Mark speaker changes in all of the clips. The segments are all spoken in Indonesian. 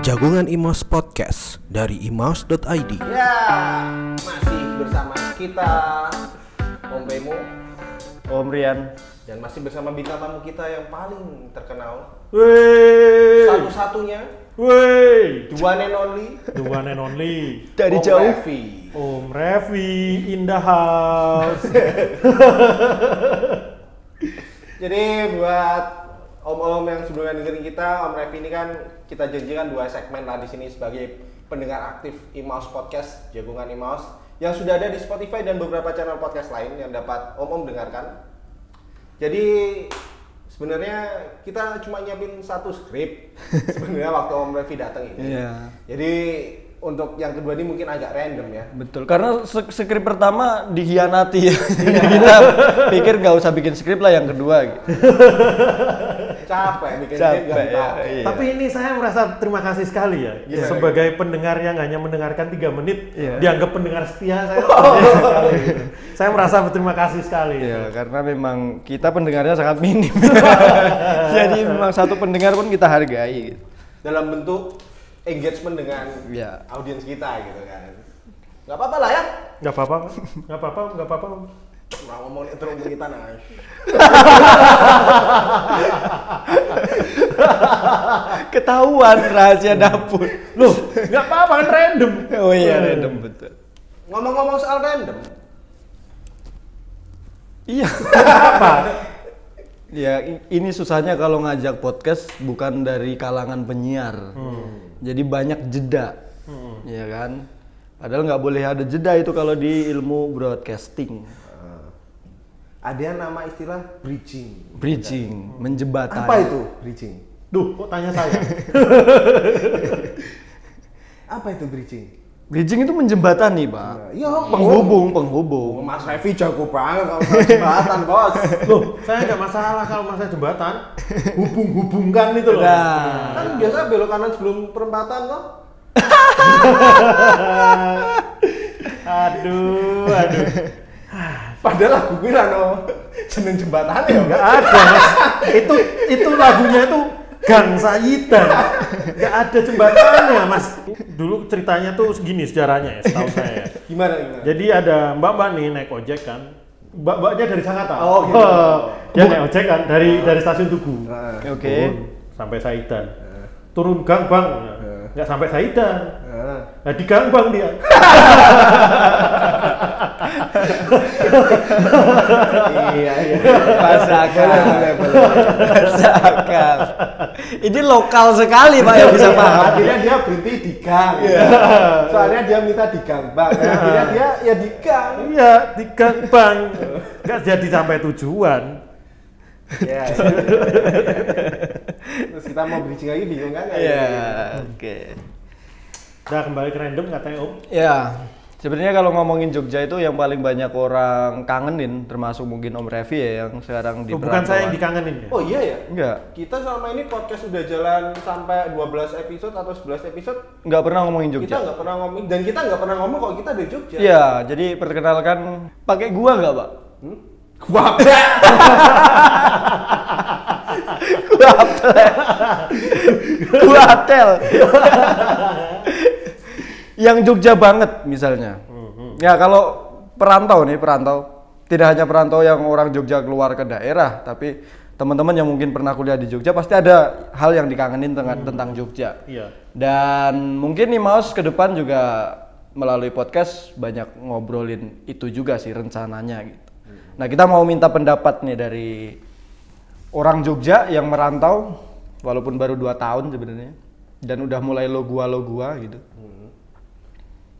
Speaker 1: Jagungan Imos Podcast dari imos.id
Speaker 2: Ya, masih bersama kita Om Remo
Speaker 3: Om Rian.
Speaker 2: dan masih bersama bintang tamu kita yang paling terkenal
Speaker 3: Wey,
Speaker 2: satu-satunya
Speaker 3: wey.
Speaker 2: dua and only
Speaker 4: The one and only
Speaker 3: Dari
Speaker 2: Om
Speaker 3: jauh.
Speaker 2: Revi.
Speaker 4: Om Revi in the house.
Speaker 2: Jadi buat om-om yang sebelumnya dengerin kita, Om Revi ini kan kita janjikan dua segmen lah di sini sebagai pendengar aktif Imaus Podcast Jagungan Imaus yang sudah ada di Spotify dan beberapa channel podcast lain yang dapat om-om dengarkan. Jadi sebenarnya kita cuma nyiapin satu skrip sebenarnya waktu Om Revi datang ini.
Speaker 3: Iya.
Speaker 2: Jadi untuk yang kedua ini mungkin agak random ya.
Speaker 3: Betul, karena se- skrip pertama dikhianati ya. Jadi kita pikir nggak usah bikin skrip lah yang kedua. gitu.
Speaker 2: Capek bikin skrip nggak
Speaker 3: Capek ya,
Speaker 2: dipakai.
Speaker 3: iya.
Speaker 4: Tapi ini saya merasa terima kasih sekali ya.
Speaker 2: Iya.
Speaker 4: Sebagai pendengar yang hanya mendengarkan tiga menit,
Speaker 3: Iya. Oh.
Speaker 4: dianggap pendengar setia saya. terima kasih sekali. saya merasa berterima kasih sekali.
Speaker 3: Iya, karena memang kita pendengarnya sangat minim. Jadi memang satu pendengar pun kita hargai. Gitu.
Speaker 2: dalam bentuk engagement dengan
Speaker 4: Ya.
Speaker 3: Iya.
Speaker 2: audiens kita gitu kan nggak apa-apa lah ya
Speaker 4: Gak apa-apa, Pak. gak apa-apa, gak apa-apa. Om.
Speaker 2: mau ngomong terus kita nah
Speaker 3: Ketahuan rahasia dapur.
Speaker 4: Loh, gak apa-apa kan random.
Speaker 3: Oh iya, random betul.
Speaker 2: ngomong-ngomong soal random
Speaker 3: Iya.
Speaker 4: Apa?
Speaker 3: Ya, i- ini susahnya kalau ngajak podcast bukan dari kalangan penyiar. Jadi banyak jeda, Iya kan? Padahal nggak boleh ada jeda itu kalau di ilmu broadcasting,
Speaker 2: ada nama istilah bridging
Speaker 3: bridging, menjebatani.
Speaker 2: apa itu bridging
Speaker 4: Duh, kok tanya saya?
Speaker 2: apa itu bridging
Speaker 3: Bridging itu menjembatani, Pak.
Speaker 2: Iya,
Speaker 3: penghubung, penghubung.
Speaker 2: Oh, Mas Revi jago banget kalau soal jembatan bos
Speaker 4: Loh, saya gak masalah kalau masalah jembatan. Hubung-hubungkan itu loh.
Speaker 3: Nah,
Speaker 2: kan biasa belok kanan sebelum perempatan loh
Speaker 4: Aduh, aduh.
Speaker 2: padahal aku kira no jeneng jembatan ya
Speaker 4: Gak ada mas. itu itu lagunya itu Gang Sayida. Gak ada jembatannya mas. Dulu ceritanya tuh gini sejarahnya ya, setahu saya.
Speaker 2: gimana gimana
Speaker 4: Jadi ada mbak-mbak nih naik ojek kan. Mbak-mbaknya dari Sangatta.
Speaker 2: Oh, gitu.
Speaker 4: Dia naik ojek kan dari dari stasiun Tugu.
Speaker 2: Nah,
Speaker 3: oke.
Speaker 4: Turun sampai Saidan. Turun gang bang. Nggak sampai Saidan.
Speaker 2: nah.
Speaker 4: Nah, di gang bang dia.
Speaker 2: iya iya
Speaker 3: Bahasa akal.
Speaker 2: Boleh, boleh, boleh.
Speaker 3: Bahasa akal. Ini lokal sekali, Pak, yang bisa
Speaker 2: Iya.
Speaker 3: paham. Iya.
Speaker 2: Akhirnya dia berhenti di gang. Soalnya dia minta di gang bang. Akhirnya dia ya di gang.
Speaker 4: Iya, di gang bang. Nggak jadi sampai tujuan.
Speaker 2: Ya,
Speaker 3: Iya.
Speaker 2: ya. Terus kita mau bridging lagi bingung kan?
Speaker 3: Iya, oke.
Speaker 4: Nah, kembali ke random katanya Om.
Speaker 3: Ya, sebenarnya kalau ngomongin Jogja itu yang paling banyak orang kangenin, termasuk mungkin Om Revi ya yang sekarang di
Speaker 4: Oh, bukan saya yang
Speaker 3: perantauan.
Speaker 4: dikangenin ya.
Speaker 2: Oh iya ya.
Speaker 3: Enggak,
Speaker 2: Kita selama ini podcast udah jalan sampai 12 episode atau 11 episode
Speaker 3: nggak pernah ngomongin
Speaker 2: kita
Speaker 3: Jogja.
Speaker 2: nggak pernah ngomong dan kita nggak pernah ngomong kalau kita dari Jogja.
Speaker 3: Iya, jadi perkenalkan pakai gua nggak pak?
Speaker 2: Gua
Speaker 3: Gua hotel, gua hotel. yang Jogja banget misalnya. Ya kalau perantau nih perantau, tidak hanya perantau yang orang Jogja keluar ke daerah, tapi teman-teman yang mungkin pernah kuliah di Jogja pasti ada hal yang dikangenin tentang, tentang Jogja.
Speaker 4: Iya.
Speaker 3: Dan mungkin nih Maus ke depan juga melalui podcast banyak ngobrolin itu juga sih rencananya gitu. Nah, kita mau minta pendapat nih dari orang Jogja yang merantau walaupun baru 2 tahun sebenarnya dan udah mulai lo gua lo gua gitu.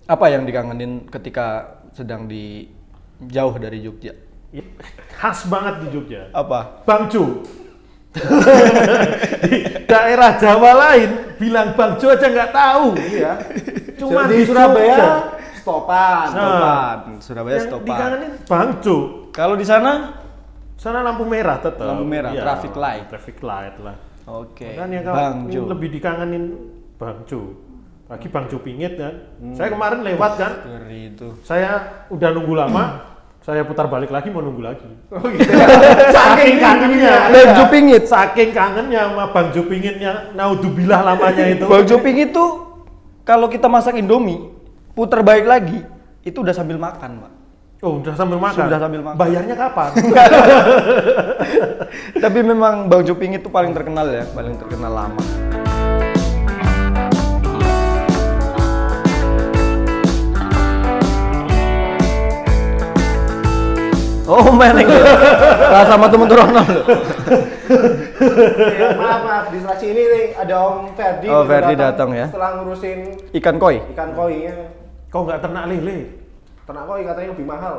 Speaker 3: Apa yang dikangenin ketika sedang di jauh dari Jogja?
Speaker 4: Iya. Khas banget di Jogja.
Speaker 3: Apa?
Speaker 4: Bang Jo. di daerah Jawa lain bilang Bang Jo aja nggak tahu.
Speaker 2: iya.
Speaker 4: Cuma
Speaker 2: di
Speaker 4: di
Speaker 2: Surabaya
Speaker 4: Jogja.
Speaker 2: stopan.
Speaker 3: Nah. Stopan, Surabaya
Speaker 4: Yang
Speaker 3: stopan.
Speaker 4: dikangenin Bang Jo.
Speaker 3: Kalau di sana
Speaker 4: Sana lampu merah tetap.
Speaker 3: Lampu merah,
Speaker 4: Iya,
Speaker 3: traffic light.
Speaker 4: Traffic light lah.
Speaker 3: Oke.
Speaker 4: Kan yang kalau
Speaker 3: Bang Jo.
Speaker 4: lebih dikangenin Bang Jo. Lagi
Speaker 3: Hmm.
Speaker 4: Bang Jo pingit kan. Saya kemarin lewat kan.
Speaker 3: Ngeri itu.
Speaker 4: Saya udah nunggu lama. Saya putar balik lagi mau nunggu lagi.
Speaker 2: Oh gitu.
Speaker 4: Saking kangennya.
Speaker 3: Bang
Speaker 4: Iya.
Speaker 3: Jupingit.
Speaker 4: Saking kangennya sama Bang Jupingit yang naudubillah lamanya itu.
Speaker 3: Bang Joping itu kalau kita masak Indomie, putar balik lagi, itu udah sambil makan, Pak.
Speaker 4: Oh, udah sambil makan.
Speaker 3: Sudah sambil makan.
Speaker 4: Bayarnya kapan?
Speaker 3: Tapi memang Bang Joping itu paling terkenal ya, paling terkenal lama. Oh, meneng. Lah sama temen Rono loh.
Speaker 2: Oke, maaf maaf distraksi ini nih, ada Om Ferdi.
Speaker 3: Oh,
Speaker 2: gitu
Speaker 3: Ferdi datang ya.
Speaker 2: Setelah ngurusin
Speaker 3: Ikan koi.
Speaker 2: ikan koi ya.
Speaker 4: Kau nggak ternak lele?
Speaker 2: Ternak koi katanya lebih mahal.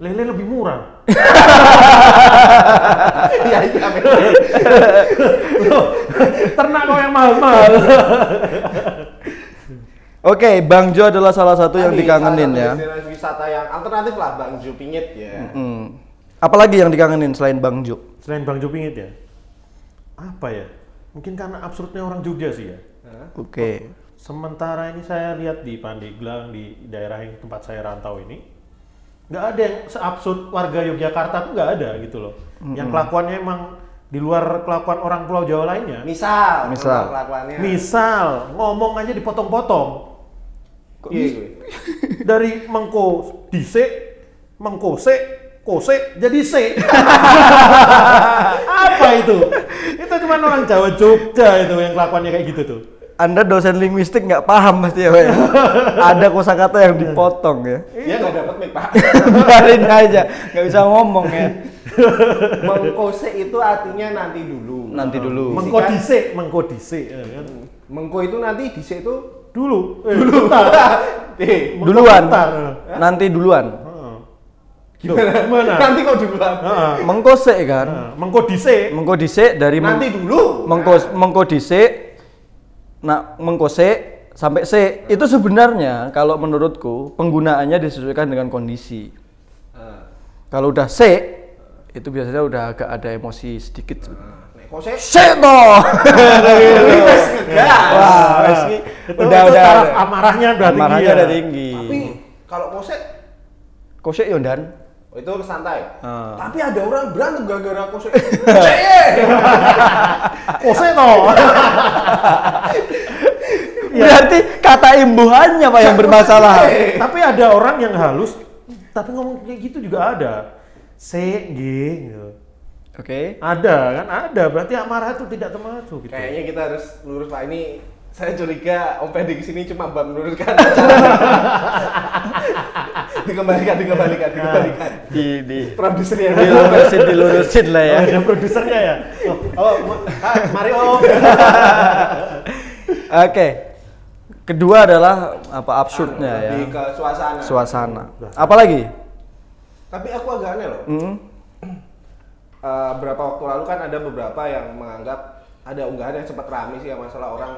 Speaker 4: Lele lebih murah.
Speaker 2: Iya iya.
Speaker 4: ternak kau yang mahal-mahal.
Speaker 3: Oke, Bang Jo adalah salah satu yang
Speaker 2: Tadi,
Speaker 3: dikangenin
Speaker 2: salah
Speaker 3: ya.
Speaker 2: satu destinasi wisata yang alternatif lah Bang Ju Pingit ya.
Speaker 3: Hmm. Apalagi yang dikangenin selain Bang Jo?
Speaker 4: Selain Bang Jupingit ya? Apa ya? Mungkin karena absurdnya orang Jogja sih ya.
Speaker 2: Hah?
Speaker 3: Oke.
Speaker 4: Sementara ini saya lihat di Pandeglang di daerah yang tempat saya rantau ini nggak ada yang seabsurd warga Yogyakarta tuh nggak ada gitu loh. Yang kelakuannya emang di luar kelakuan orang Pulau Jawa lainnya.
Speaker 2: Misal,
Speaker 3: Misal.
Speaker 2: memang kelakuannya.
Speaker 4: Misal ngomong aja dipotong-potong
Speaker 2: Iya, gue.
Speaker 4: dari mengko dise, mengko se, kose jadi se. Apa itu? Itu cuma orang Jawa Jogja itu yang kelakuannya kayak gitu tuh.
Speaker 3: Anda dosen linguistik nggak paham pasti ya, Pak, ya? Ada kosakata yang dipotong ya.
Speaker 2: Dia Iya, nggak dapat mic pak.
Speaker 3: Biarin aja, nggak bisa ngomong ya.
Speaker 2: Mengkose itu artinya nanti dulu.
Speaker 3: Nanti dulu.
Speaker 4: Mengko dise, mengko dise. ya kan?
Speaker 2: Mengko itu nanti di situ.
Speaker 4: Dulu, eh, dulu. Bentar.
Speaker 2: Eh,
Speaker 3: Duluan.
Speaker 4: Bentar.
Speaker 3: Nanti duluan.
Speaker 4: Heeh. Loh, Gimana?
Speaker 2: nanti kok duluan.
Speaker 4: Heeh.
Speaker 3: Mengkose kan?
Speaker 4: Heeh. Mengko dise.
Speaker 3: Mengko dhisik dari meng-
Speaker 2: Nanti dulu.
Speaker 3: mengkos mengko dhisik. Nah, mengkose sampai se itu sebenarnya kalau menurutku penggunaannya disesuaikan dengan kondisi.
Speaker 2: Nah,
Speaker 3: Kalau udah se itu biasanya udah agak ada emosi sedikit.
Speaker 2: nek kose.
Speaker 3: Se toh.
Speaker 2: Ini nah, wes ngegas.
Speaker 3: Iya. Wah, Ah, wes ki.
Speaker 4: Itu,
Speaker 3: udah
Speaker 4: itu
Speaker 3: udah.
Speaker 4: taraf amarahnya udah tinggi.
Speaker 3: Marahnya
Speaker 4: ya.
Speaker 3: udah tinggi.
Speaker 2: Tapi kalau kose
Speaker 3: Kosek yo dan.
Speaker 2: oh, itu santai.
Speaker 3: Ah.
Speaker 2: Tapi ada orang berantem gara-gara kose. Kose.
Speaker 4: Kose Ah, toh.
Speaker 3: Berarti kata imbuhannya Pak yang bermasalah.
Speaker 4: tapi ada orang yang halus tapi ngomong kayak gitu juga ada. Se G gitu.
Speaker 3: Oke.
Speaker 4: Ada kan? Ada. Berarti amarah itu tidak termasuk gitu.
Speaker 2: Kayaknya kita harus lurus pak ini. Saya curiga Om Fendi kesini cuma buat meluruskan. acara. dikembalikan, dikembalikan,
Speaker 3: Ah.
Speaker 2: dikembalikan.
Speaker 3: Di di
Speaker 2: Produser yang
Speaker 3: Iya.
Speaker 2: bilang.
Speaker 3: dilurusin dilurusin lah
Speaker 4: Oh,
Speaker 3: ya.
Speaker 4: ada produsernya ya. Oh,
Speaker 2: Oh, ma- ah, mari Om.
Speaker 3: Oke. Kedua adalah apa absurdnya ya.
Speaker 2: Lebih ke suasana.
Speaker 3: Suasana. Apalagi?
Speaker 2: Tapi aku agak aneh loh.
Speaker 3: Hmm?
Speaker 2: Eh, berapa waktu lalu kan ada beberapa yang menganggap ada unggahan yang sempat rame sih ya masalah orang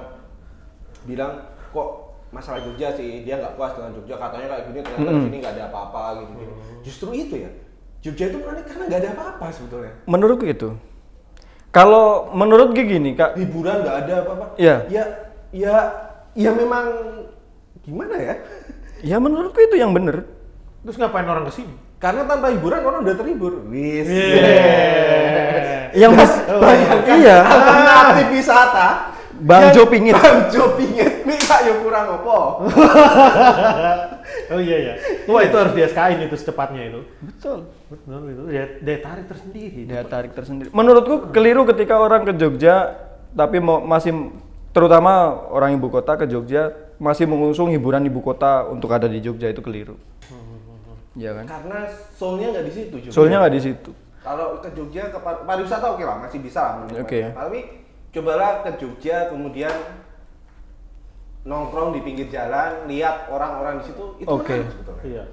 Speaker 2: bilang kok masalah Jogja sih dia nggak puas dengan Jogja katanya kayak gini ternyata
Speaker 3: Hmm.
Speaker 2: di sini nggak ada apa-apa gitu, gitu. Justru itu ya Jogja itu aneh karena nggak ada apa-apa sebetulnya.
Speaker 3: Menurutku itu. Kalau menurut gue gini, Kak.
Speaker 2: hiburan nggak ada apa-apa.
Speaker 3: Iya.
Speaker 2: Ya, ya, ya memang gimana ya?
Speaker 3: Ya menurutku itu yang bener.
Speaker 4: terus ngapain orang kesini?
Speaker 2: Karena tanpa hiburan orang udah terhibur. Wis.
Speaker 3: Iya.
Speaker 4: Iya.
Speaker 3: Yang mas-
Speaker 2: Bayangkan
Speaker 3: iya.
Speaker 2: kan alternatif wisata.
Speaker 3: Bang
Speaker 2: yang
Speaker 3: Jo pingin.
Speaker 2: Bang Jo pingin. Minta ya kurang apa?
Speaker 4: Oh iya ya. Wah itu harus di SK-in itu secepatnya itu.
Speaker 3: Betul.
Speaker 4: Benar itu. Daya, daya tarik tersendiri.
Speaker 3: daya tarik tersendiri. Menurutku keliru ketika orang ke Jogja tapi mau masih terutama orang ibu kota ke Jogja masih mengusung hiburan ibu kota untuk ada di Jogja itu keliru. Iya kan?
Speaker 2: Karena soulnya nggak di situ. Jogja.
Speaker 3: Soalnya nggak di situ.
Speaker 2: Kalau ke Jogja ke par- pariwisata oke lah masih bisa lah. menurut
Speaker 3: Oke.
Speaker 2: saya. Tapi cobalah ke Jogja kemudian nongkrong di pinggir jalan lihat orang-orang di situ itu
Speaker 3: Oke.
Speaker 2: menarik sebetulnya.
Speaker 4: Iya.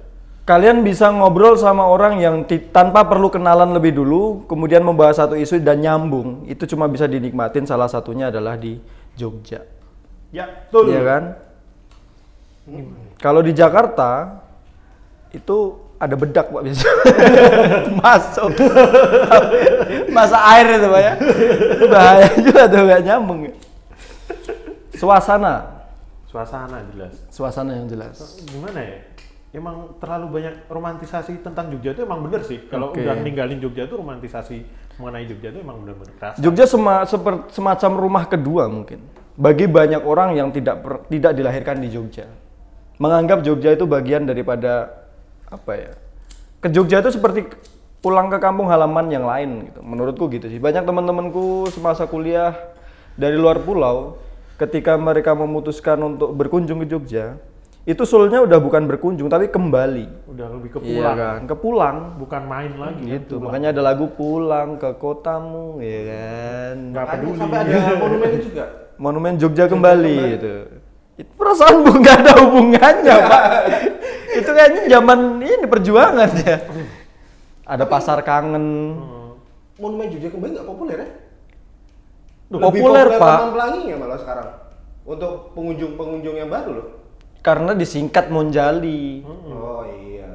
Speaker 3: Kalian bisa ngobrol sama orang yang ti- tanpa perlu kenalan lebih dulu, kemudian membahas satu isu dan nyambung. Itu cuma bisa dinikmatin salah satunya adalah di Jogja.
Speaker 4: Ya, betul.
Speaker 3: Iya kan? Kalau di Jakarta itu ada bedak pak biasa masuk masa air itu pak ya bahaya juga tuh nggak nyambung ya. suasana
Speaker 4: Suasana jelas.
Speaker 3: suasana yang jelas
Speaker 4: Gimana ya? emang terlalu banyak romantisasi tentang Jogja itu emang bener sih. Kalau
Speaker 3: Oke.
Speaker 4: udah ninggalin Jogja itu romantisasi mengenai Jogja itu emang bener-bener keras.
Speaker 3: Jogja sema- seper- semacam rumah kedua mungkin. Bagi banyak orang yang tidak per- tidak dilahirkan di Jogja, menganggap Jogja itu bagian daripada apa ya? Ke Jogja itu seperti pulang ke kampung halaman yang lain gitu. Menurutku gitu sih. Banyak teman-temanku semasa kuliah dari luar pulau, ketika mereka memutuskan untuk berkunjung ke Jogja, itu soulnya udah bukan berkunjung tapi kembali.
Speaker 4: Udah lebih ke
Speaker 3: Iya
Speaker 4: pulang,
Speaker 3: kan? Ke pulang
Speaker 4: bukan main lagi. kan?
Speaker 3: gitu. Makanya ada lagu pulang ke kotamu, ya kan.
Speaker 4: Nggak peduli.
Speaker 2: sampai ada monumennya juga.
Speaker 3: Monumen Jogja kembali gitu. Itu perasaan bu nggak ada hubungannya pak. Itu kayaknya zaman ini perjuangan ya. Ada pasar kangen.
Speaker 4: Oh.
Speaker 2: Monumen Jogja kembali nggak populer ya?
Speaker 3: Populer, Pak.
Speaker 2: Taman Pelangi ya malah sekarang. Untuk pengunjung-pengunjung yang baru loh.
Speaker 3: Karena disingkat Monjali.
Speaker 2: Oh iya.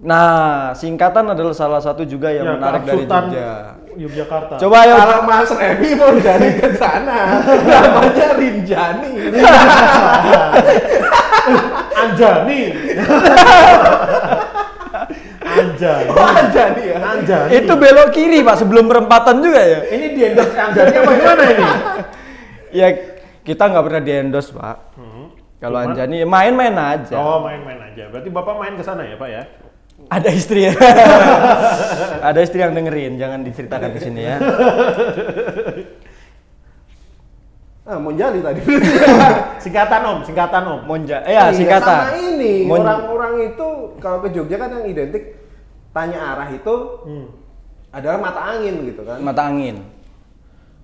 Speaker 3: Nah, singkatan adalah salah satu juga yang
Speaker 4: Ya,
Speaker 3: menarik dari
Speaker 4: keabsurdan
Speaker 3: Jogja.
Speaker 4: Yogyakarta.
Speaker 3: Coba ya, ayo.
Speaker 2: Kalau Mas Revi mau dari ke sana, namanya Rinjani.
Speaker 4: Anjani. Anjani.
Speaker 2: Oh, Anjani ya.
Speaker 4: Anjani.
Speaker 3: Itu belok kiri pak sebelum perempatan juga ya.
Speaker 2: Ini di endorse Anjani apa gimana ini?
Speaker 3: Ya kita nggak pernah diendos pak.
Speaker 4: Hmm.
Speaker 3: Kalau
Speaker 4: Cuman-
Speaker 3: Anjani ya main-main aja.
Speaker 4: Oh, main-main aja. Berarti Bapak main ke sana ya, Pak ya?
Speaker 3: Ada istri ya. Ada istri yang dengerin, jangan diceritakan ke sini ya.
Speaker 2: Ah, Monjali tadi.
Speaker 4: Singkatan Om, singkatan Om.
Speaker 3: Monja, eh ya
Speaker 2: Iya,
Speaker 3: singkatan.
Speaker 2: Sama ini,
Speaker 3: Mon-
Speaker 2: orang-orang itu kalau ke Jogja kan yang identik tanya arah itu
Speaker 4: Hmm.
Speaker 2: adalah mata angin gitu kan.
Speaker 3: mata angin.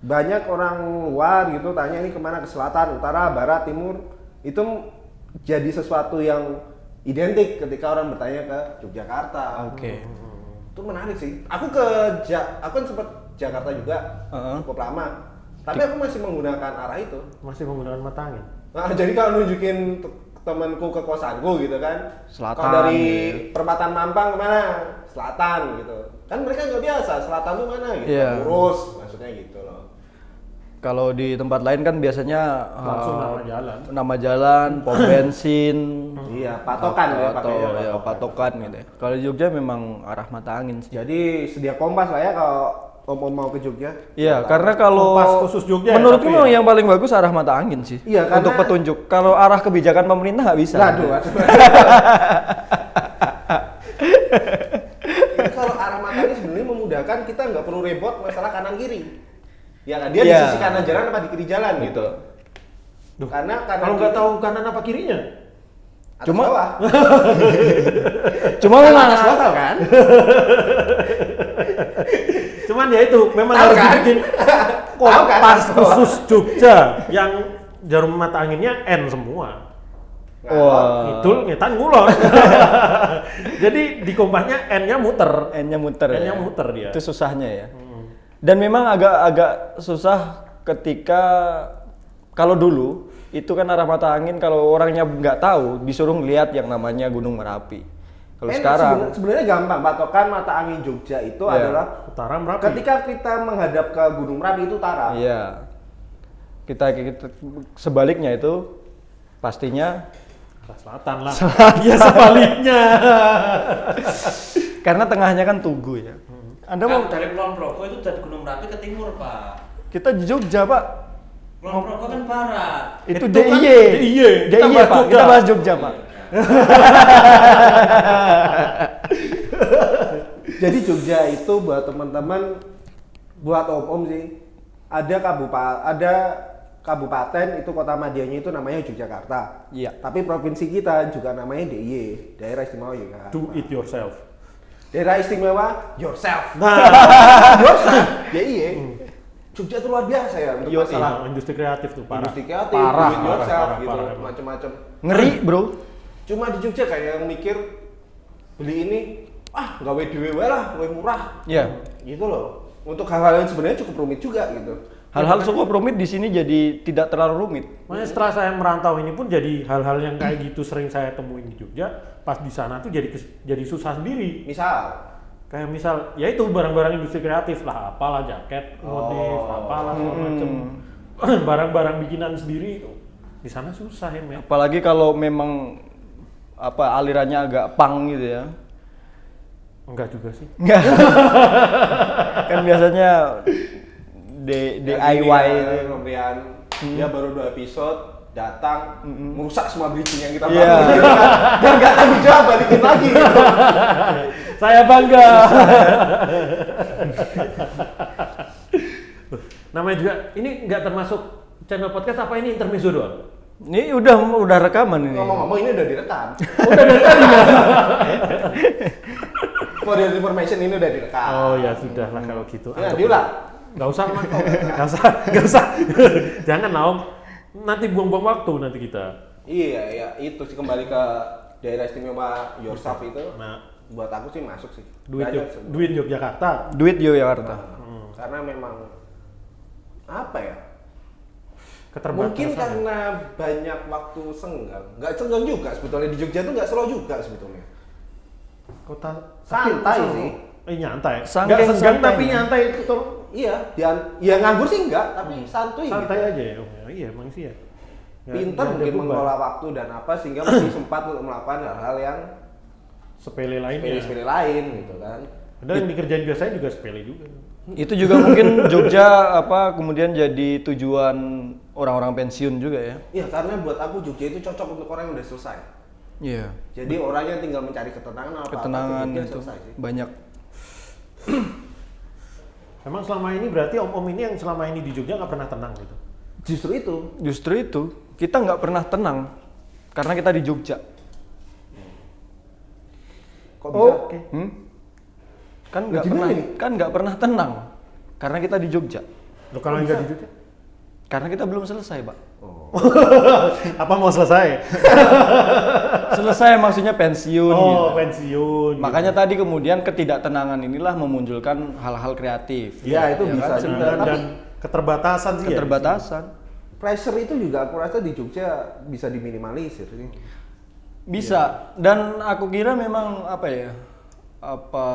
Speaker 2: Banyak orang luar gitu tanya ini kemana ke selatan, utara, barat, timur. Itu jadi sesuatu yang identik ketika orang bertanya ke Yogyakarta.
Speaker 3: Oke.
Speaker 2: itu menarik sih aku ke ja aku kan sempat Jakarta juga
Speaker 3: Heeh.
Speaker 2: cukup lama tapi aku masih menggunakan arah itu
Speaker 4: Masih menggunakan mata angin.
Speaker 2: nah, jadi kalau nunjukin t- temanku ke kosanku gitu kan
Speaker 3: Selatan,
Speaker 2: kalau dari
Speaker 3: gitu.
Speaker 2: perempatan Mampang kemana selatan gitu kan mereka nggak biasa selatan tuh mana gitu
Speaker 3: Iya.
Speaker 2: lurus maksudnya gitu loh
Speaker 3: Kalau di tempat lain kan biasanya
Speaker 4: Langsung
Speaker 3: eh,
Speaker 4: nama jalan.
Speaker 3: nama jalan, pom bensin,
Speaker 2: iya patokan ya
Speaker 3: atau
Speaker 2: pakainya
Speaker 3: ya, patokan gitu. ya. Kalau di Jogja memang arah mata
Speaker 4: Iya,
Speaker 3: angin sih.
Speaker 2: jadi sedia kompas lah ya kalau om-om mau ke Jogja
Speaker 3: Iya, karena kalau
Speaker 4: Kompas khusus Jogja ya,
Speaker 3: menurutku
Speaker 4: tapi
Speaker 3: memang
Speaker 4: ya.
Speaker 3: yang paling bagus arah mata angin sih.
Speaker 2: Iya, karena-
Speaker 3: untuk petunjuk. Kalau arah kebijakan pemerintah nggak bisa.
Speaker 2: Lah, aduh, aduh. Jadi kalau arah matanya sebenarnya memudahkan kita nggak perlu repot masalah kanan kiri. Ya kan? Dia di
Speaker 3: Iya.
Speaker 2: sisi kanan jalan apa di kiri jalan gitu.
Speaker 4: Duh,
Speaker 2: Karena kanan
Speaker 4: Kalau nggak
Speaker 2: kiri-
Speaker 4: tahu kanan apa kirinya,
Speaker 2: atas
Speaker 3: Cuma-
Speaker 2: bawah.
Speaker 3: Cuma
Speaker 2: Kanan
Speaker 3: memang
Speaker 2: atas bawah tahu kan?
Speaker 4: cuman ya itu memang
Speaker 2: Tahu
Speaker 4: harus
Speaker 2: kan?
Speaker 4: dibikin
Speaker 2: Tahu kan?
Speaker 4: kompas
Speaker 2: Atas bawah.
Speaker 4: khusus Jogja yang jarum mata anginnya N semua.
Speaker 2: Nah, Ngalor.
Speaker 3: Wah.
Speaker 4: Ngidul, ngetan, ngulon. Jadi di kompasnya N-nya muter.
Speaker 3: N-nya muter.
Speaker 4: N-nya
Speaker 3: ya.
Speaker 4: muter dia. Hmm.
Speaker 3: Itu susahnya ya. Dan memang agak-agak susah ketika kalau dulu itu kan arah mata angin kalau orangnya nggak tahu disuruh ngelihat yang namanya Gunung Merapi. Kalau
Speaker 2: Eh,
Speaker 3: sekarang
Speaker 2: sebenar- sebenarnya gampang patokan mata angin Jogja itu
Speaker 3: Iya.
Speaker 2: adalah
Speaker 4: Utara Merapi.
Speaker 2: ketika kita menghadap ke Gunung Merapi itu utara.
Speaker 3: iya. Kita, kita sebaliknya itu pastinya
Speaker 4: Arah selatan lah. Iya sebaliknya.
Speaker 3: karena tengahnya kan Tugu ya.
Speaker 4: Hmm.
Speaker 3: Anda mau
Speaker 5: Kalau dari Kulon Progo itu dari Gunung Merapi ke timur, Pak.
Speaker 3: kita di Jogja, Pak.
Speaker 5: Kulon Progo kan barat.
Speaker 3: Itu,
Speaker 4: Itu kan
Speaker 3: DIY.
Speaker 4: DIY.
Speaker 3: DIY,
Speaker 4: Kita bahas
Speaker 3: Pak.
Speaker 4: Jogja.
Speaker 3: Kita bahas Jogja, Pak.
Speaker 2: Jadi Jogja itu buat teman-teman buat om-om sih. Ada kabupaten ada kabupaten itu kota medianya itu namanya Yogyakarta.
Speaker 3: Iya.
Speaker 2: Tapi provinsi kita juga namanya DIY, Daerah Istimewa Yogyakarta.
Speaker 4: Do it yourself.
Speaker 2: Daerah Istimewa yourself.
Speaker 4: Nah, Hmm.
Speaker 2: yourself. DIY. Jogja itu luar biasa ya untuk
Speaker 4: Yo,
Speaker 2: masalah
Speaker 4: iya, industri kreatif tuh parah.
Speaker 2: industri kreatif,
Speaker 3: Parah,
Speaker 2: do it
Speaker 4: parah,
Speaker 2: yourself
Speaker 4: parah,
Speaker 2: gitu,
Speaker 4: parah, emang.
Speaker 2: macam-macam.
Speaker 3: Ngeri, Bro.
Speaker 2: Cuma di Jogja kayak yang mikir beli ini ah gawe dhewe wae lah, gawe murah.
Speaker 3: Iya.
Speaker 4: Hmm.
Speaker 2: gitu loh untuk hal-hal yang sebenarnya cukup rumit juga gitu
Speaker 3: Hal-hal cukup rumit di sini jadi tidak terlalu rumit.
Speaker 4: Makanya setelah saya merantau ini pun jadi hal-hal yang kayak gitu sering saya temuin di Jogja, pas di sana tuh jadi kes- jadi susah sendiri.
Speaker 2: misal
Speaker 4: Kayak misal, ya itu barang-barang industri kreatif lah, apalah jaket, motif, apalah segala macem. Barang-barang bikinan sendiri itu di sana susah ya, men.
Speaker 3: Apalagi kalau memang apa alirannya agak pang gitu ya.
Speaker 4: Enggak juga sih.
Speaker 3: Nggak. kan biasanya
Speaker 2: ya.
Speaker 3: D- gitu. DIY itu. Hmm.
Speaker 2: Ini pemberian dia baru dua episode datang merusak semua bridging yang kita
Speaker 3: Iya.
Speaker 2: bangun gitu kan. dan gak tanggung jawab balikin lagi gitu.
Speaker 4: Saya bangga. Namanya juga ini nggak termasuk channel podcast apa ini intermezzo doang?
Speaker 3: Ini udah udah rekaman ini.
Speaker 2: ngomong-ngomong ini udah direkam
Speaker 4: Udah dari tadi.
Speaker 2: for your information ini udah direkam
Speaker 4: Oh
Speaker 3: iya.
Speaker 4: ya sudah lah kalau gitu.
Speaker 2: ya
Speaker 4: Anggap-
Speaker 2: diulang
Speaker 4: Nggak usah Mak. Nggak usah. Nggak usah. Jangan Naom. Nanti buang-buang waktu nanti kita.
Speaker 2: iya iya itu sih kembali ke daerah istimewa yourself itu
Speaker 4: Nah,
Speaker 2: buat aku sih masuk sih
Speaker 4: duit
Speaker 2: Banyak
Speaker 4: Hmm. Yog,
Speaker 2: sih.
Speaker 4: duit Yogyakarta.
Speaker 3: Duit Yogyakarta.
Speaker 2: karena memang apa ya
Speaker 4: Keterbatasan. ya.
Speaker 2: mungkin kan karena banyak waktu senggang nggak senggang juga sebetulnya di Jogja tuh nggak slow juga sebetulnya
Speaker 4: kota
Speaker 2: Santai sih.
Speaker 4: Eh nyantai.
Speaker 3: Saking
Speaker 4: Nggak senggang
Speaker 3: santainya.
Speaker 4: tapi nyantai itu tolong
Speaker 2: iya dan ya nganggur sih nggak tapi santuy
Speaker 4: Hmm. santai
Speaker 2: gitu.
Speaker 4: aja ya. Om. Ya, Iya emang sih ya. Nggak-
Speaker 2: pinter
Speaker 4: nggak ada
Speaker 2: mungkin
Speaker 4: beban.
Speaker 2: mengelola waktu dan apa sehingga masih sempat untuk melakukan hal-hal yang
Speaker 4: sepele lainnya.
Speaker 2: sepele-sepele lain gitu kan
Speaker 4: Padahal yang dikerjain biasanya juga sepele juga.
Speaker 3: Itu juga mungkin Jogja apa kemudian jadi tujuan orang-orang pensiun juga ya.
Speaker 2: Iya karena buat aku Jogja itu cocok untuk orang yang udah selesai
Speaker 3: Iya.
Speaker 2: jadi
Speaker 4: Hmm.
Speaker 2: orangnya tinggal mencari ketenangan apa
Speaker 3: Ketenangan itu
Speaker 2: selesai sih
Speaker 3: banyak.
Speaker 4: Emang selama ini berarti om-om ini yang selama ini di Jogja nggak pernah tenang gitu.
Speaker 2: justru itu
Speaker 3: Justru itu kita nggak pernah tenang karena kita di Jogja.
Speaker 2: kok bisa
Speaker 4: Oh, oke.
Speaker 3: Hmm? Kan
Speaker 2: Lah,
Speaker 3: nggak
Speaker 2: gimana
Speaker 3: pernah
Speaker 2: ini?
Speaker 3: kan nggak pernah tenang karena kita di Jogja.
Speaker 4: Lo kalau nggak di Jogja,
Speaker 3: Karena kita belum selesai, Pak.
Speaker 4: apa mau selesai?
Speaker 3: Selesai maksudnya pensiun gitu.
Speaker 2: ya.
Speaker 4: oh, pensiun.
Speaker 3: Makanya tadi kemudian ketidaktenangan inilah memunculkan hal-al kreatif.
Speaker 2: ya, itu
Speaker 3: kan?
Speaker 2: bisa juga
Speaker 4: dan,
Speaker 2: tapi
Speaker 4: dan keterbatasan sih ya.
Speaker 3: Keterbatasan.
Speaker 2: pressure itu juga aku rasa di Jogja bisa diminimalisir sih.
Speaker 3: Bisa. Dan aku kira memang apa ya? Apa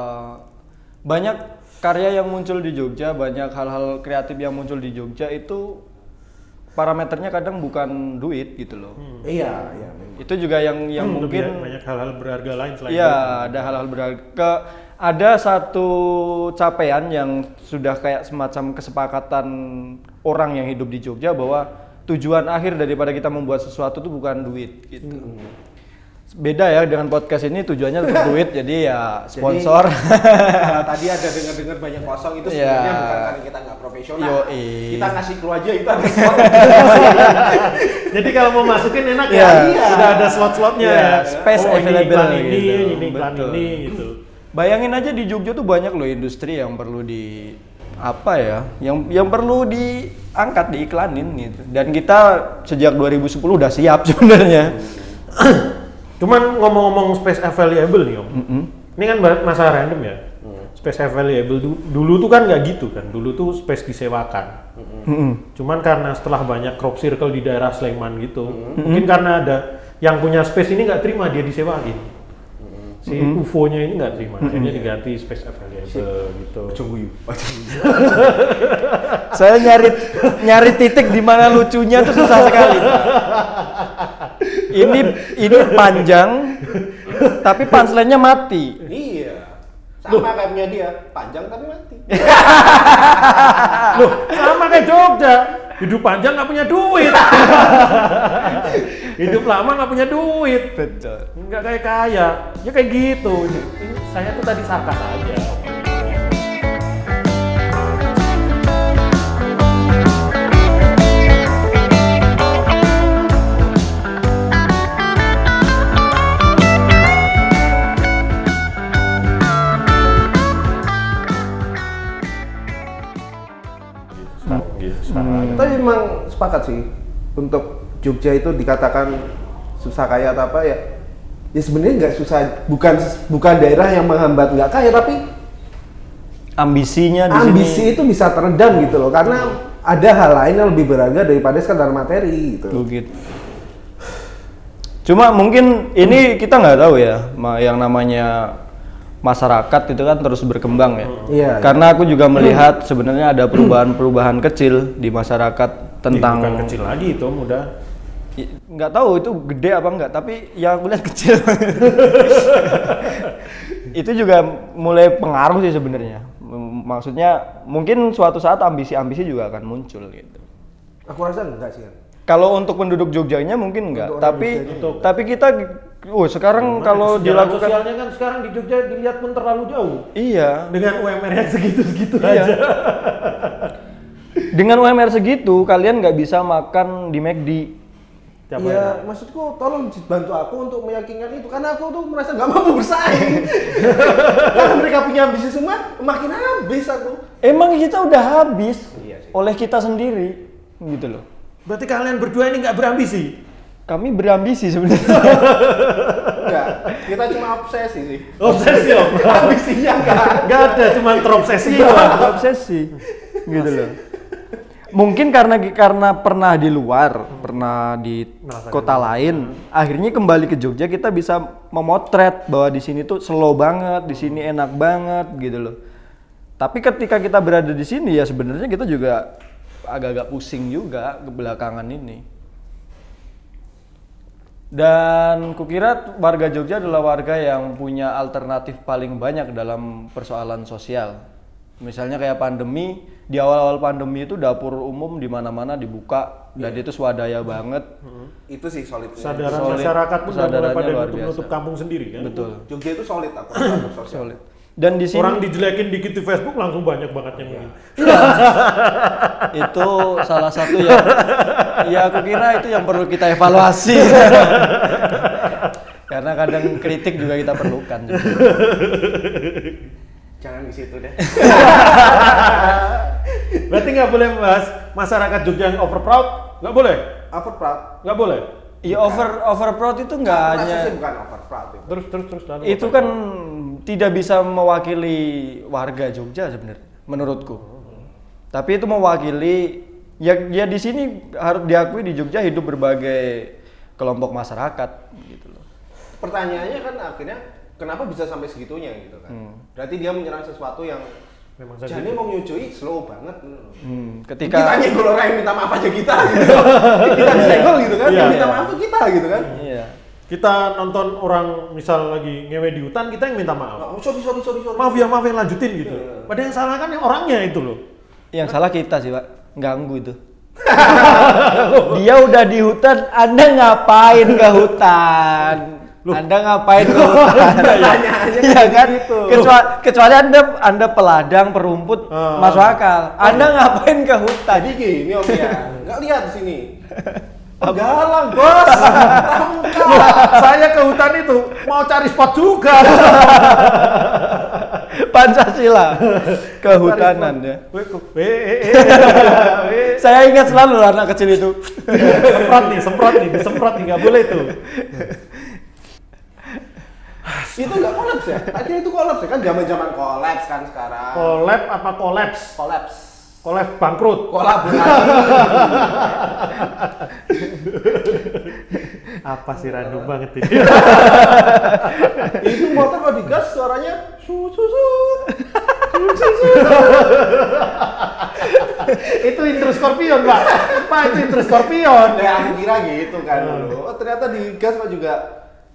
Speaker 3: banyak karya yang muncul di Jogja, banyak hal-hal kreatif yang muncul di Jogja itu parameternya kadang bukan duit gitu loh.
Speaker 2: Iya, iya. memang.
Speaker 3: Itu juga yang
Speaker 4: Ya.
Speaker 3: yang
Speaker 4: Hmm,
Speaker 3: mungkin
Speaker 4: lebih banyak hal-hal berharga lain selain
Speaker 3: Iya, ada hal-hal berharga. Ada satu capaian yang sudah kayak semacam kesepakatan orang yang hidup di Jogja bahwa tujuan akhir daripada kita membuat sesuatu itu bukan duit gitu. Beda ya dengan podcast ini tujuannya untuk duit, jadi ya sponsor.
Speaker 2: Kalau tadi ada dengar-dengar banyak kosong itu sebenarnya
Speaker 3: Iya.
Speaker 2: bukan karena kita nggak profesional.
Speaker 3: Yoi.
Speaker 2: Kita ngasih clue aja itu ada spot.
Speaker 4: Jadi kalau mau masukin enak
Speaker 3: Iya.
Speaker 4: ya, udah ada slot-slotnya
Speaker 3: Iya,
Speaker 4: ya.
Speaker 3: space
Speaker 4: oh, ini
Speaker 3: available
Speaker 4: iklan ini,
Speaker 3: gitu.
Speaker 4: ini iklan
Speaker 3: Betul.
Speaker 4: ini gitu.
Speaker 3: Bayangin aja di Jogja tuh banyak loh industri yang perlu di apa ya, yang yang perlu diangkat diiklanin gitu. Dan kita sejak 2010 udah siap sebenarnya.
Speaker 4: Cuman ngomong-ngomong space available nih om, ini kan ba- masa random ya. Space available du- dulu tuh kan nggak gitu kan, dulu tuh space disewakan.
Speaker 3: Mm-mm.
Speaker 4: Cuman karena setelah banyak crop circle di daerah Sleman gitu, mungkin karena ada yang punya space ini nggak terima dia disewain. Si UFO-nya ini nggak terima, akhirnya diganti space available gitu.
Speaker 3: Saya nyari nyari titik di mana lucunya tuh susah sekali. Ini ini panjang, tapi punchline-nya mati.
Speaker 2: iya. Sama kayak punya dia, panjang tapi mati.
Speaker 4: Loh, sama kayak Jogja. Hidup panjang nggak punya duit. Hidup lama nggak punya duit.
Speaker 3: Betul.
Speaker 4: Nggak kayak kaya. Ya kayak gitu. Ini Saya tuh tadi sarkas aja.
Speaker 2: Tapi memang sepakat sih untuk Jogja itu dikatakan susah kaya atau apa ya. Ya sebenarnya nggak susah, bukan bukan daerah yang menghambat nggak kaya tapi
Speaker 3: Ambisinya di
Speaker 2: ambisi
Speaker 3: sini.
Speaker 2: itu bisa teredam gitu loh karena ada hal lain yang lebih berharga daripada sekadar materi gitu.
Speaker 3: Begitu. Cuma mungkin ini kita nggak tahu ya, ma- yang namanya masyarakat itu kan terus berkembang ya.
Speaker 2: Iya.
Speaker 3: Karena aku juga melihat sebenarnya ada perubahan-perubahan kecil di masyarakat
Speaker 4: Tentang
Speaker 3: tentang
Speaker 4: kecil lagi itu muda.
Speaker 3: I- nggak tahu itu gede apa enggak tapi yang aku lihat kecil itu juga mulai pengaruh sih sebenarnya M- maksudnya mungkin suatu saat ambisi-ambisi juga akan muncul gitu
Speaker 2: Aku rasa enggak sih kan.
Speaker 3: kalau untuk penduduk Jogjanya mungkin enggak
Speaker 2: Untuk orang
Speaker 3: tapi
Speaker 2: Jogjanya
Speaker 4: enggak.
Speaker 3: tapi kita oh sekarang kalau
Speaker 4: Sejarah
Speaker 3: dilakukan
Speaker 4: sosialnya kan sekarang di Jogja dilihat pun terlalu jauh.
Speaker 3: iya
Speaker 4: Dengan UMR yang segitu-segitu
Speaker 3: Iya.
Speaker 4: aja.
Speaker 3: dengan UMR segitu kalian nggak bisa makan di McD
Speaker 4: Tiap
Speaker 2: Iya, maksudku tolong bantu aku untuk meyakinkan itu karena aku tuh merasa nggak mampu bersaing. karena mereka punya ambisi semua, makin habis aku.
Speaker 3: emang kita udah habis
Speaker 2: Iya sih.
Speaker 3: oleh kita sendiri gitu loh
Speaker 4: Berarti kalian berdua ini nggak berambisi.
Speaker 3: kami berambisi sebenarnya
Speaker 2: Enggak, kita cuma obsesi sih.
Speaker 4: Obsesi om.
Speaker 2: Ambisinya enggak
Speaker 4: Gak ada, cuma terobsesi
Speaker 3: Iya,
Speaker 4: doang.
Speaker 3: obsesi gitu loh. Mungkin karena karena pernah di luar, pernah di
Speaker 4: Merasakan.
Speaker 3: kota lain, akhirnya kembali ke Jogja kita bisa memotret bahwa di sini tuh slow banget, di sini enak banget gitu loh. Tapi ketika kita berada di sini ya sebenarnya kita juga agak-agak pusing juga ke belakangan ini. Dan kukira warga Jogja adalah warga yang punya alternatif paling banyak dalam persoalan sosial. Misalnya kayak pandemi, di awal-awal pandemi itu dapur umum di mana-mana dibuka dan itu swadaya banget.
Speaker 2: Itu sih solid.
Speaker 4: Kesadaran
Speaker 3: Solid.
Speaker 4: masyarakat pun udah mulai
Speaker 3: Kesadarannya
Speaker 4: pada
Speaker 3: luar
Speaker 4: nutup-nutup
Speaker 3: biasa.
Speaker 4: kampung sendiri kan.
Speaker 3: Betul.
Speaker 2: Jogja itu solid aku. Solid.
Speaker 3: Solid. Dan di sini
Speaker 4: Orang dijelekin dikit di Facebook langsung banyak banget yang
Speaker 3: Iya.
Speaker 4: ini.
Speaker 3: itu salah satu yang ya aku kira itu yang perlu kita evaluasi. Karena kadang kritik juga kita perlukan. sebenarnya.
Speaker 2: Jangan di situ deh.
Speaker 4: Berarti nggak boleh membahas masyarakat Jogja yang overproud? Nggak boleh?
Speaker 2: Overproud.
Speaker 4: Nggak boleh?
Speaker 3: Ya over overproud itu nggak
Speaker 2: Aku rasa
Speaker 3: hanya
Speaker 2: sih bukan overproud itu.
Speaker 4: Terus, terus, terus. lalu
Speaker 3: itu
Speaker 4: apa?
Speaker 3: kan tidak bisa mewakili warga Jogja sebenarnya menurutku tapi itu mewakili ya ya di sini harus diakui di Jogja hidup berbagai kelompok masyarakat gitu loh
Speaker 2: Pertanyaannya kan akhirnya kenapa bisa sampai segitunya gitu kan? Berarti dia menyerang sesuatu yang
Speaker 4: Memang saya
Speaker 2: Jani mau nyujui slow banget.
Speaker 3: Hmm,
Speaker 2: Kita
Speaker 3: ketika
Speaker 2: nyenggol orang yang minta maaf aja kita gitu. kita disenggol gitu kan,
Speaker 4: Iya,
Speaker 2: yang minta
Speaker 3: iya.
Speaker 2: maaf tuh kita gitu kan.
Speaker 3: iya
Speaker 4: kita nonton orang misal lagi ngewe di hutan kita yang minta maaf
Speaker 2: Oh, sorry sorry sorry sorry.
Speaker 4: maaf ya maaf yang lanjutin gitu
Speaker 2: Iya.
Speaker 4: padahal yang salah kan yang orangnya itu loh
Speaker 3: yang salah kita sih pak ganggu itu dia udah di hutan anda ngapain ke hutan anda ngapain ke hutan
Speaker 2: Pertanyaannya
Speaker 3: Iya
Speaker 2: kan
Speaker 3: kan?
Speaker 2: gitu.
Speaker 3: Kecuali, kecuali anda anda peladang perumput
Speaker 4: Ah.
Speaker 3: masuk akal. Anda ngapain ke hutan?
Speaker 2: Jadi gini Om ya, nggak lihat di sini. Galang bos, Tangkap.
Speaker 4: saya ke hutan itu mau cari spot juga
Speaker 3: Pancasila kehutanan ya.
Speaker 4: Weh, kok- weh, eh, eh, eh, weh.
Speaker 3: Saya ingat selalu loh anak kecil itu.
Speaker 4: semprot nih semprot nih disemprot nih nggak boleh tuh
Speaker 2: itu nggak kolaps ya? Akhirnya itu kolaps ya kan zaman-zaman kolaps kan sekarang.
Speaker 4: collab apa kolaps
Speaker 2: Kolaps.
Speaker 4: kolaps bangkrut
Speaker 2: Kolaborasi.
Speaker 4: apa sih random banget ini
Speaker 2: itu motor kalau digas suaranya su su su.
Speaker 4: itu intro scorpion pak pak itu intro scorpion
Speaker 2: Ya aku kira gitu kan dulu. Oh, ternyata digas mah juga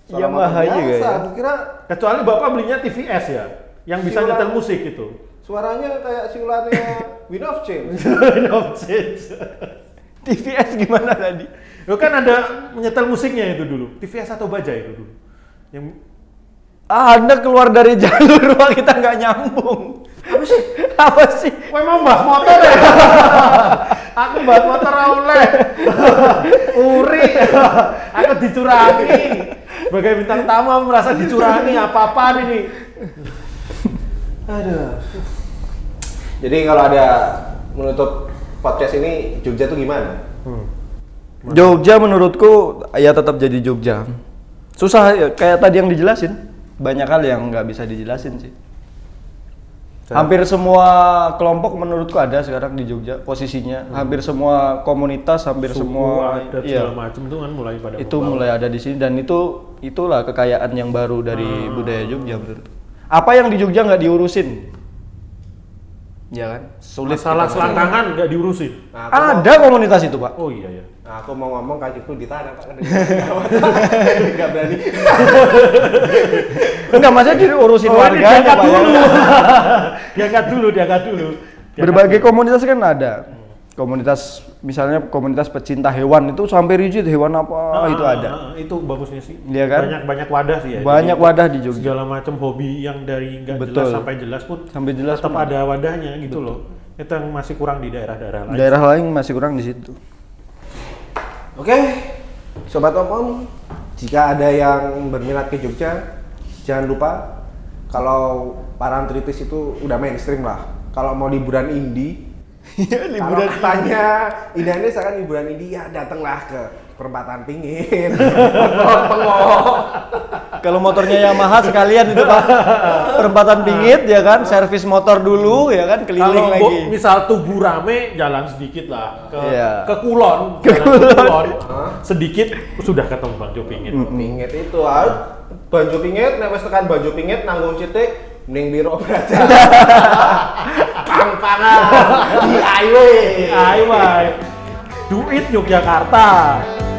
Speaker 2: suara
Speaker 3: Iya,
Speaker 2: motor
Speaker 3: mahal juga
Speaker 2: biasa.
Speaker 3: ya.
Speaker 2: Aku kira
Speaker 4: kecuali bapak belinya TVS ya yang bisa
Speaker 2: Siulan.
Speaker 3: Iya.
Speaker 4: nyetel musik itu
Speaker 2: suaranya kayak siulannya Win of Change.
Speaker 4: no change
Speaker 3: TVS gimana tadi?
Speaker 4: Lo kan ada menyetel musiknya itu dulu. TVS atau Baja itu dulu. Yang
Speaker 3: Ah, anda keluar dari jalur Wah, kita nggak nyambung. Apa sih? Apa sih?
Speaker 4: Wah emang bahas motor ya? Aku bahas motor oleh Uri Aku dicurangi Sebagai bintang tamu aku merasa dicurangi apa-apaan ini
Speaker 2: Aduh. Jadi kalau ada menutup podcast ini Jogja tuh gimana?
Speaker 3: Jogja menurutku ya tetap jadi Jogja. Susah ya, kayak tadi yang dijelasin. Banyak hal yang nggak bisa dijelasin sih. Hampir semua kelompok menurutku ada sekarang di Jogja posisinya. Hampir semua komunitas, hampir semua
Speaker 4: Suku, Hmm. adat
Speaker 3: iya,
Speaker 4: segala macam itu kan mulai pada
Speaker 3: itu
Speaker 4: membangun.
Speaker 3: mulai ada di sini dan itu itulah kekayaan yang baru dari
Speaker 4: Hmm.
Speaker 3: budaya Jogja menurutku. Apa yang di Jogja nggak diurusin? Ya kan? Sulit
Speaker 4: Masalah
Speaker 3: kita-
Speaker 4: selangkangan nggak diurusin
Speaker 2: Nah, aku mau-
Speaker 3: Ada komunitas itu, Pak.
Speaker 4: Oh iya ya
Speaker 2: Nah, aku mau ngomong kakiku ditarik Pak. Kedengeran. Enggak berani.
Speaker 3: Enggak, maksudnya diurusin
Speaker 4: Oh, ini
Speaker 3: warganya,
Speaker 4: diangkat
Speaker 3: Pak, ya.
Speaker 4: dulu. diangkat dulu, diangkat dulu. Diangkat
Speaker 3: Berbagai komunitas kan ada. Komunitas misalnya komunitas pecinta hewan itu sampai rigid hewan apa
Speaker 4: Ah,
Speaker 3: Oh, itu
Speaker 4: ah,
Speaker 3: ada.
Speaker 4: ah, itu bagusnya sih.
Speaker 3: Iya kan?
Speaker 4: Banyak banyak wadah sih ya.
Speaker 3: Banyak
Speaker 4: Jadi,
Speaker 3: wadah di Jogja.
Speaker 4: Segala macam hobi yang dari nggak
Speaker 3: Betul.
Speaker 4: jelas sampai jelas pun
Speaker 3: Sampai jelas
Speaker 4: tetap
Speaker 3: pun
Speaker 4: ada wadahnya gitu loh. Itu yang masih kurang di daerah-daerah lain.
Speaker 3: Daerah lain masih kurang di situ.
Speaker 2: Oke, sobat om-om, jika ada yang berminat ke Jogja, jangan lupa kalau parantritis itu udah mainstream lah. Kalau mau liburan indie,
Speaker 3: Iya,
Speaker 2: liburan katanya indahnya seakan liburan indie ya datanglah ke perempatan pingin.
Speaker 3: Kalau motornya Yamaha sekalian itu Pak. Perempatan pingit ya kan, servis motor dulu ya kan, keliling
Speaker 4: Kalau bo-
Speaker 3: lagi.
Speaker 4: misal tubuh rame jalan sedikit lah ke
Speaker 3: Iya.
Speaker 4: ke Kulon,
Speaker 3: Ke
Speaker 4: jalan
Speaker 3: Kulon.
Speaker 4: sedikit sudah ketemu Bang Jo Pingin.
Speaker 2: Pingit itu ah, Banjo Pingit, nek wis tekan Banjo Pingit nanggung sithik ning biro belajar. Pang-pangan di highway.
Speaker 4: Iya, Ayo, ayo. Do it Yogyakarta.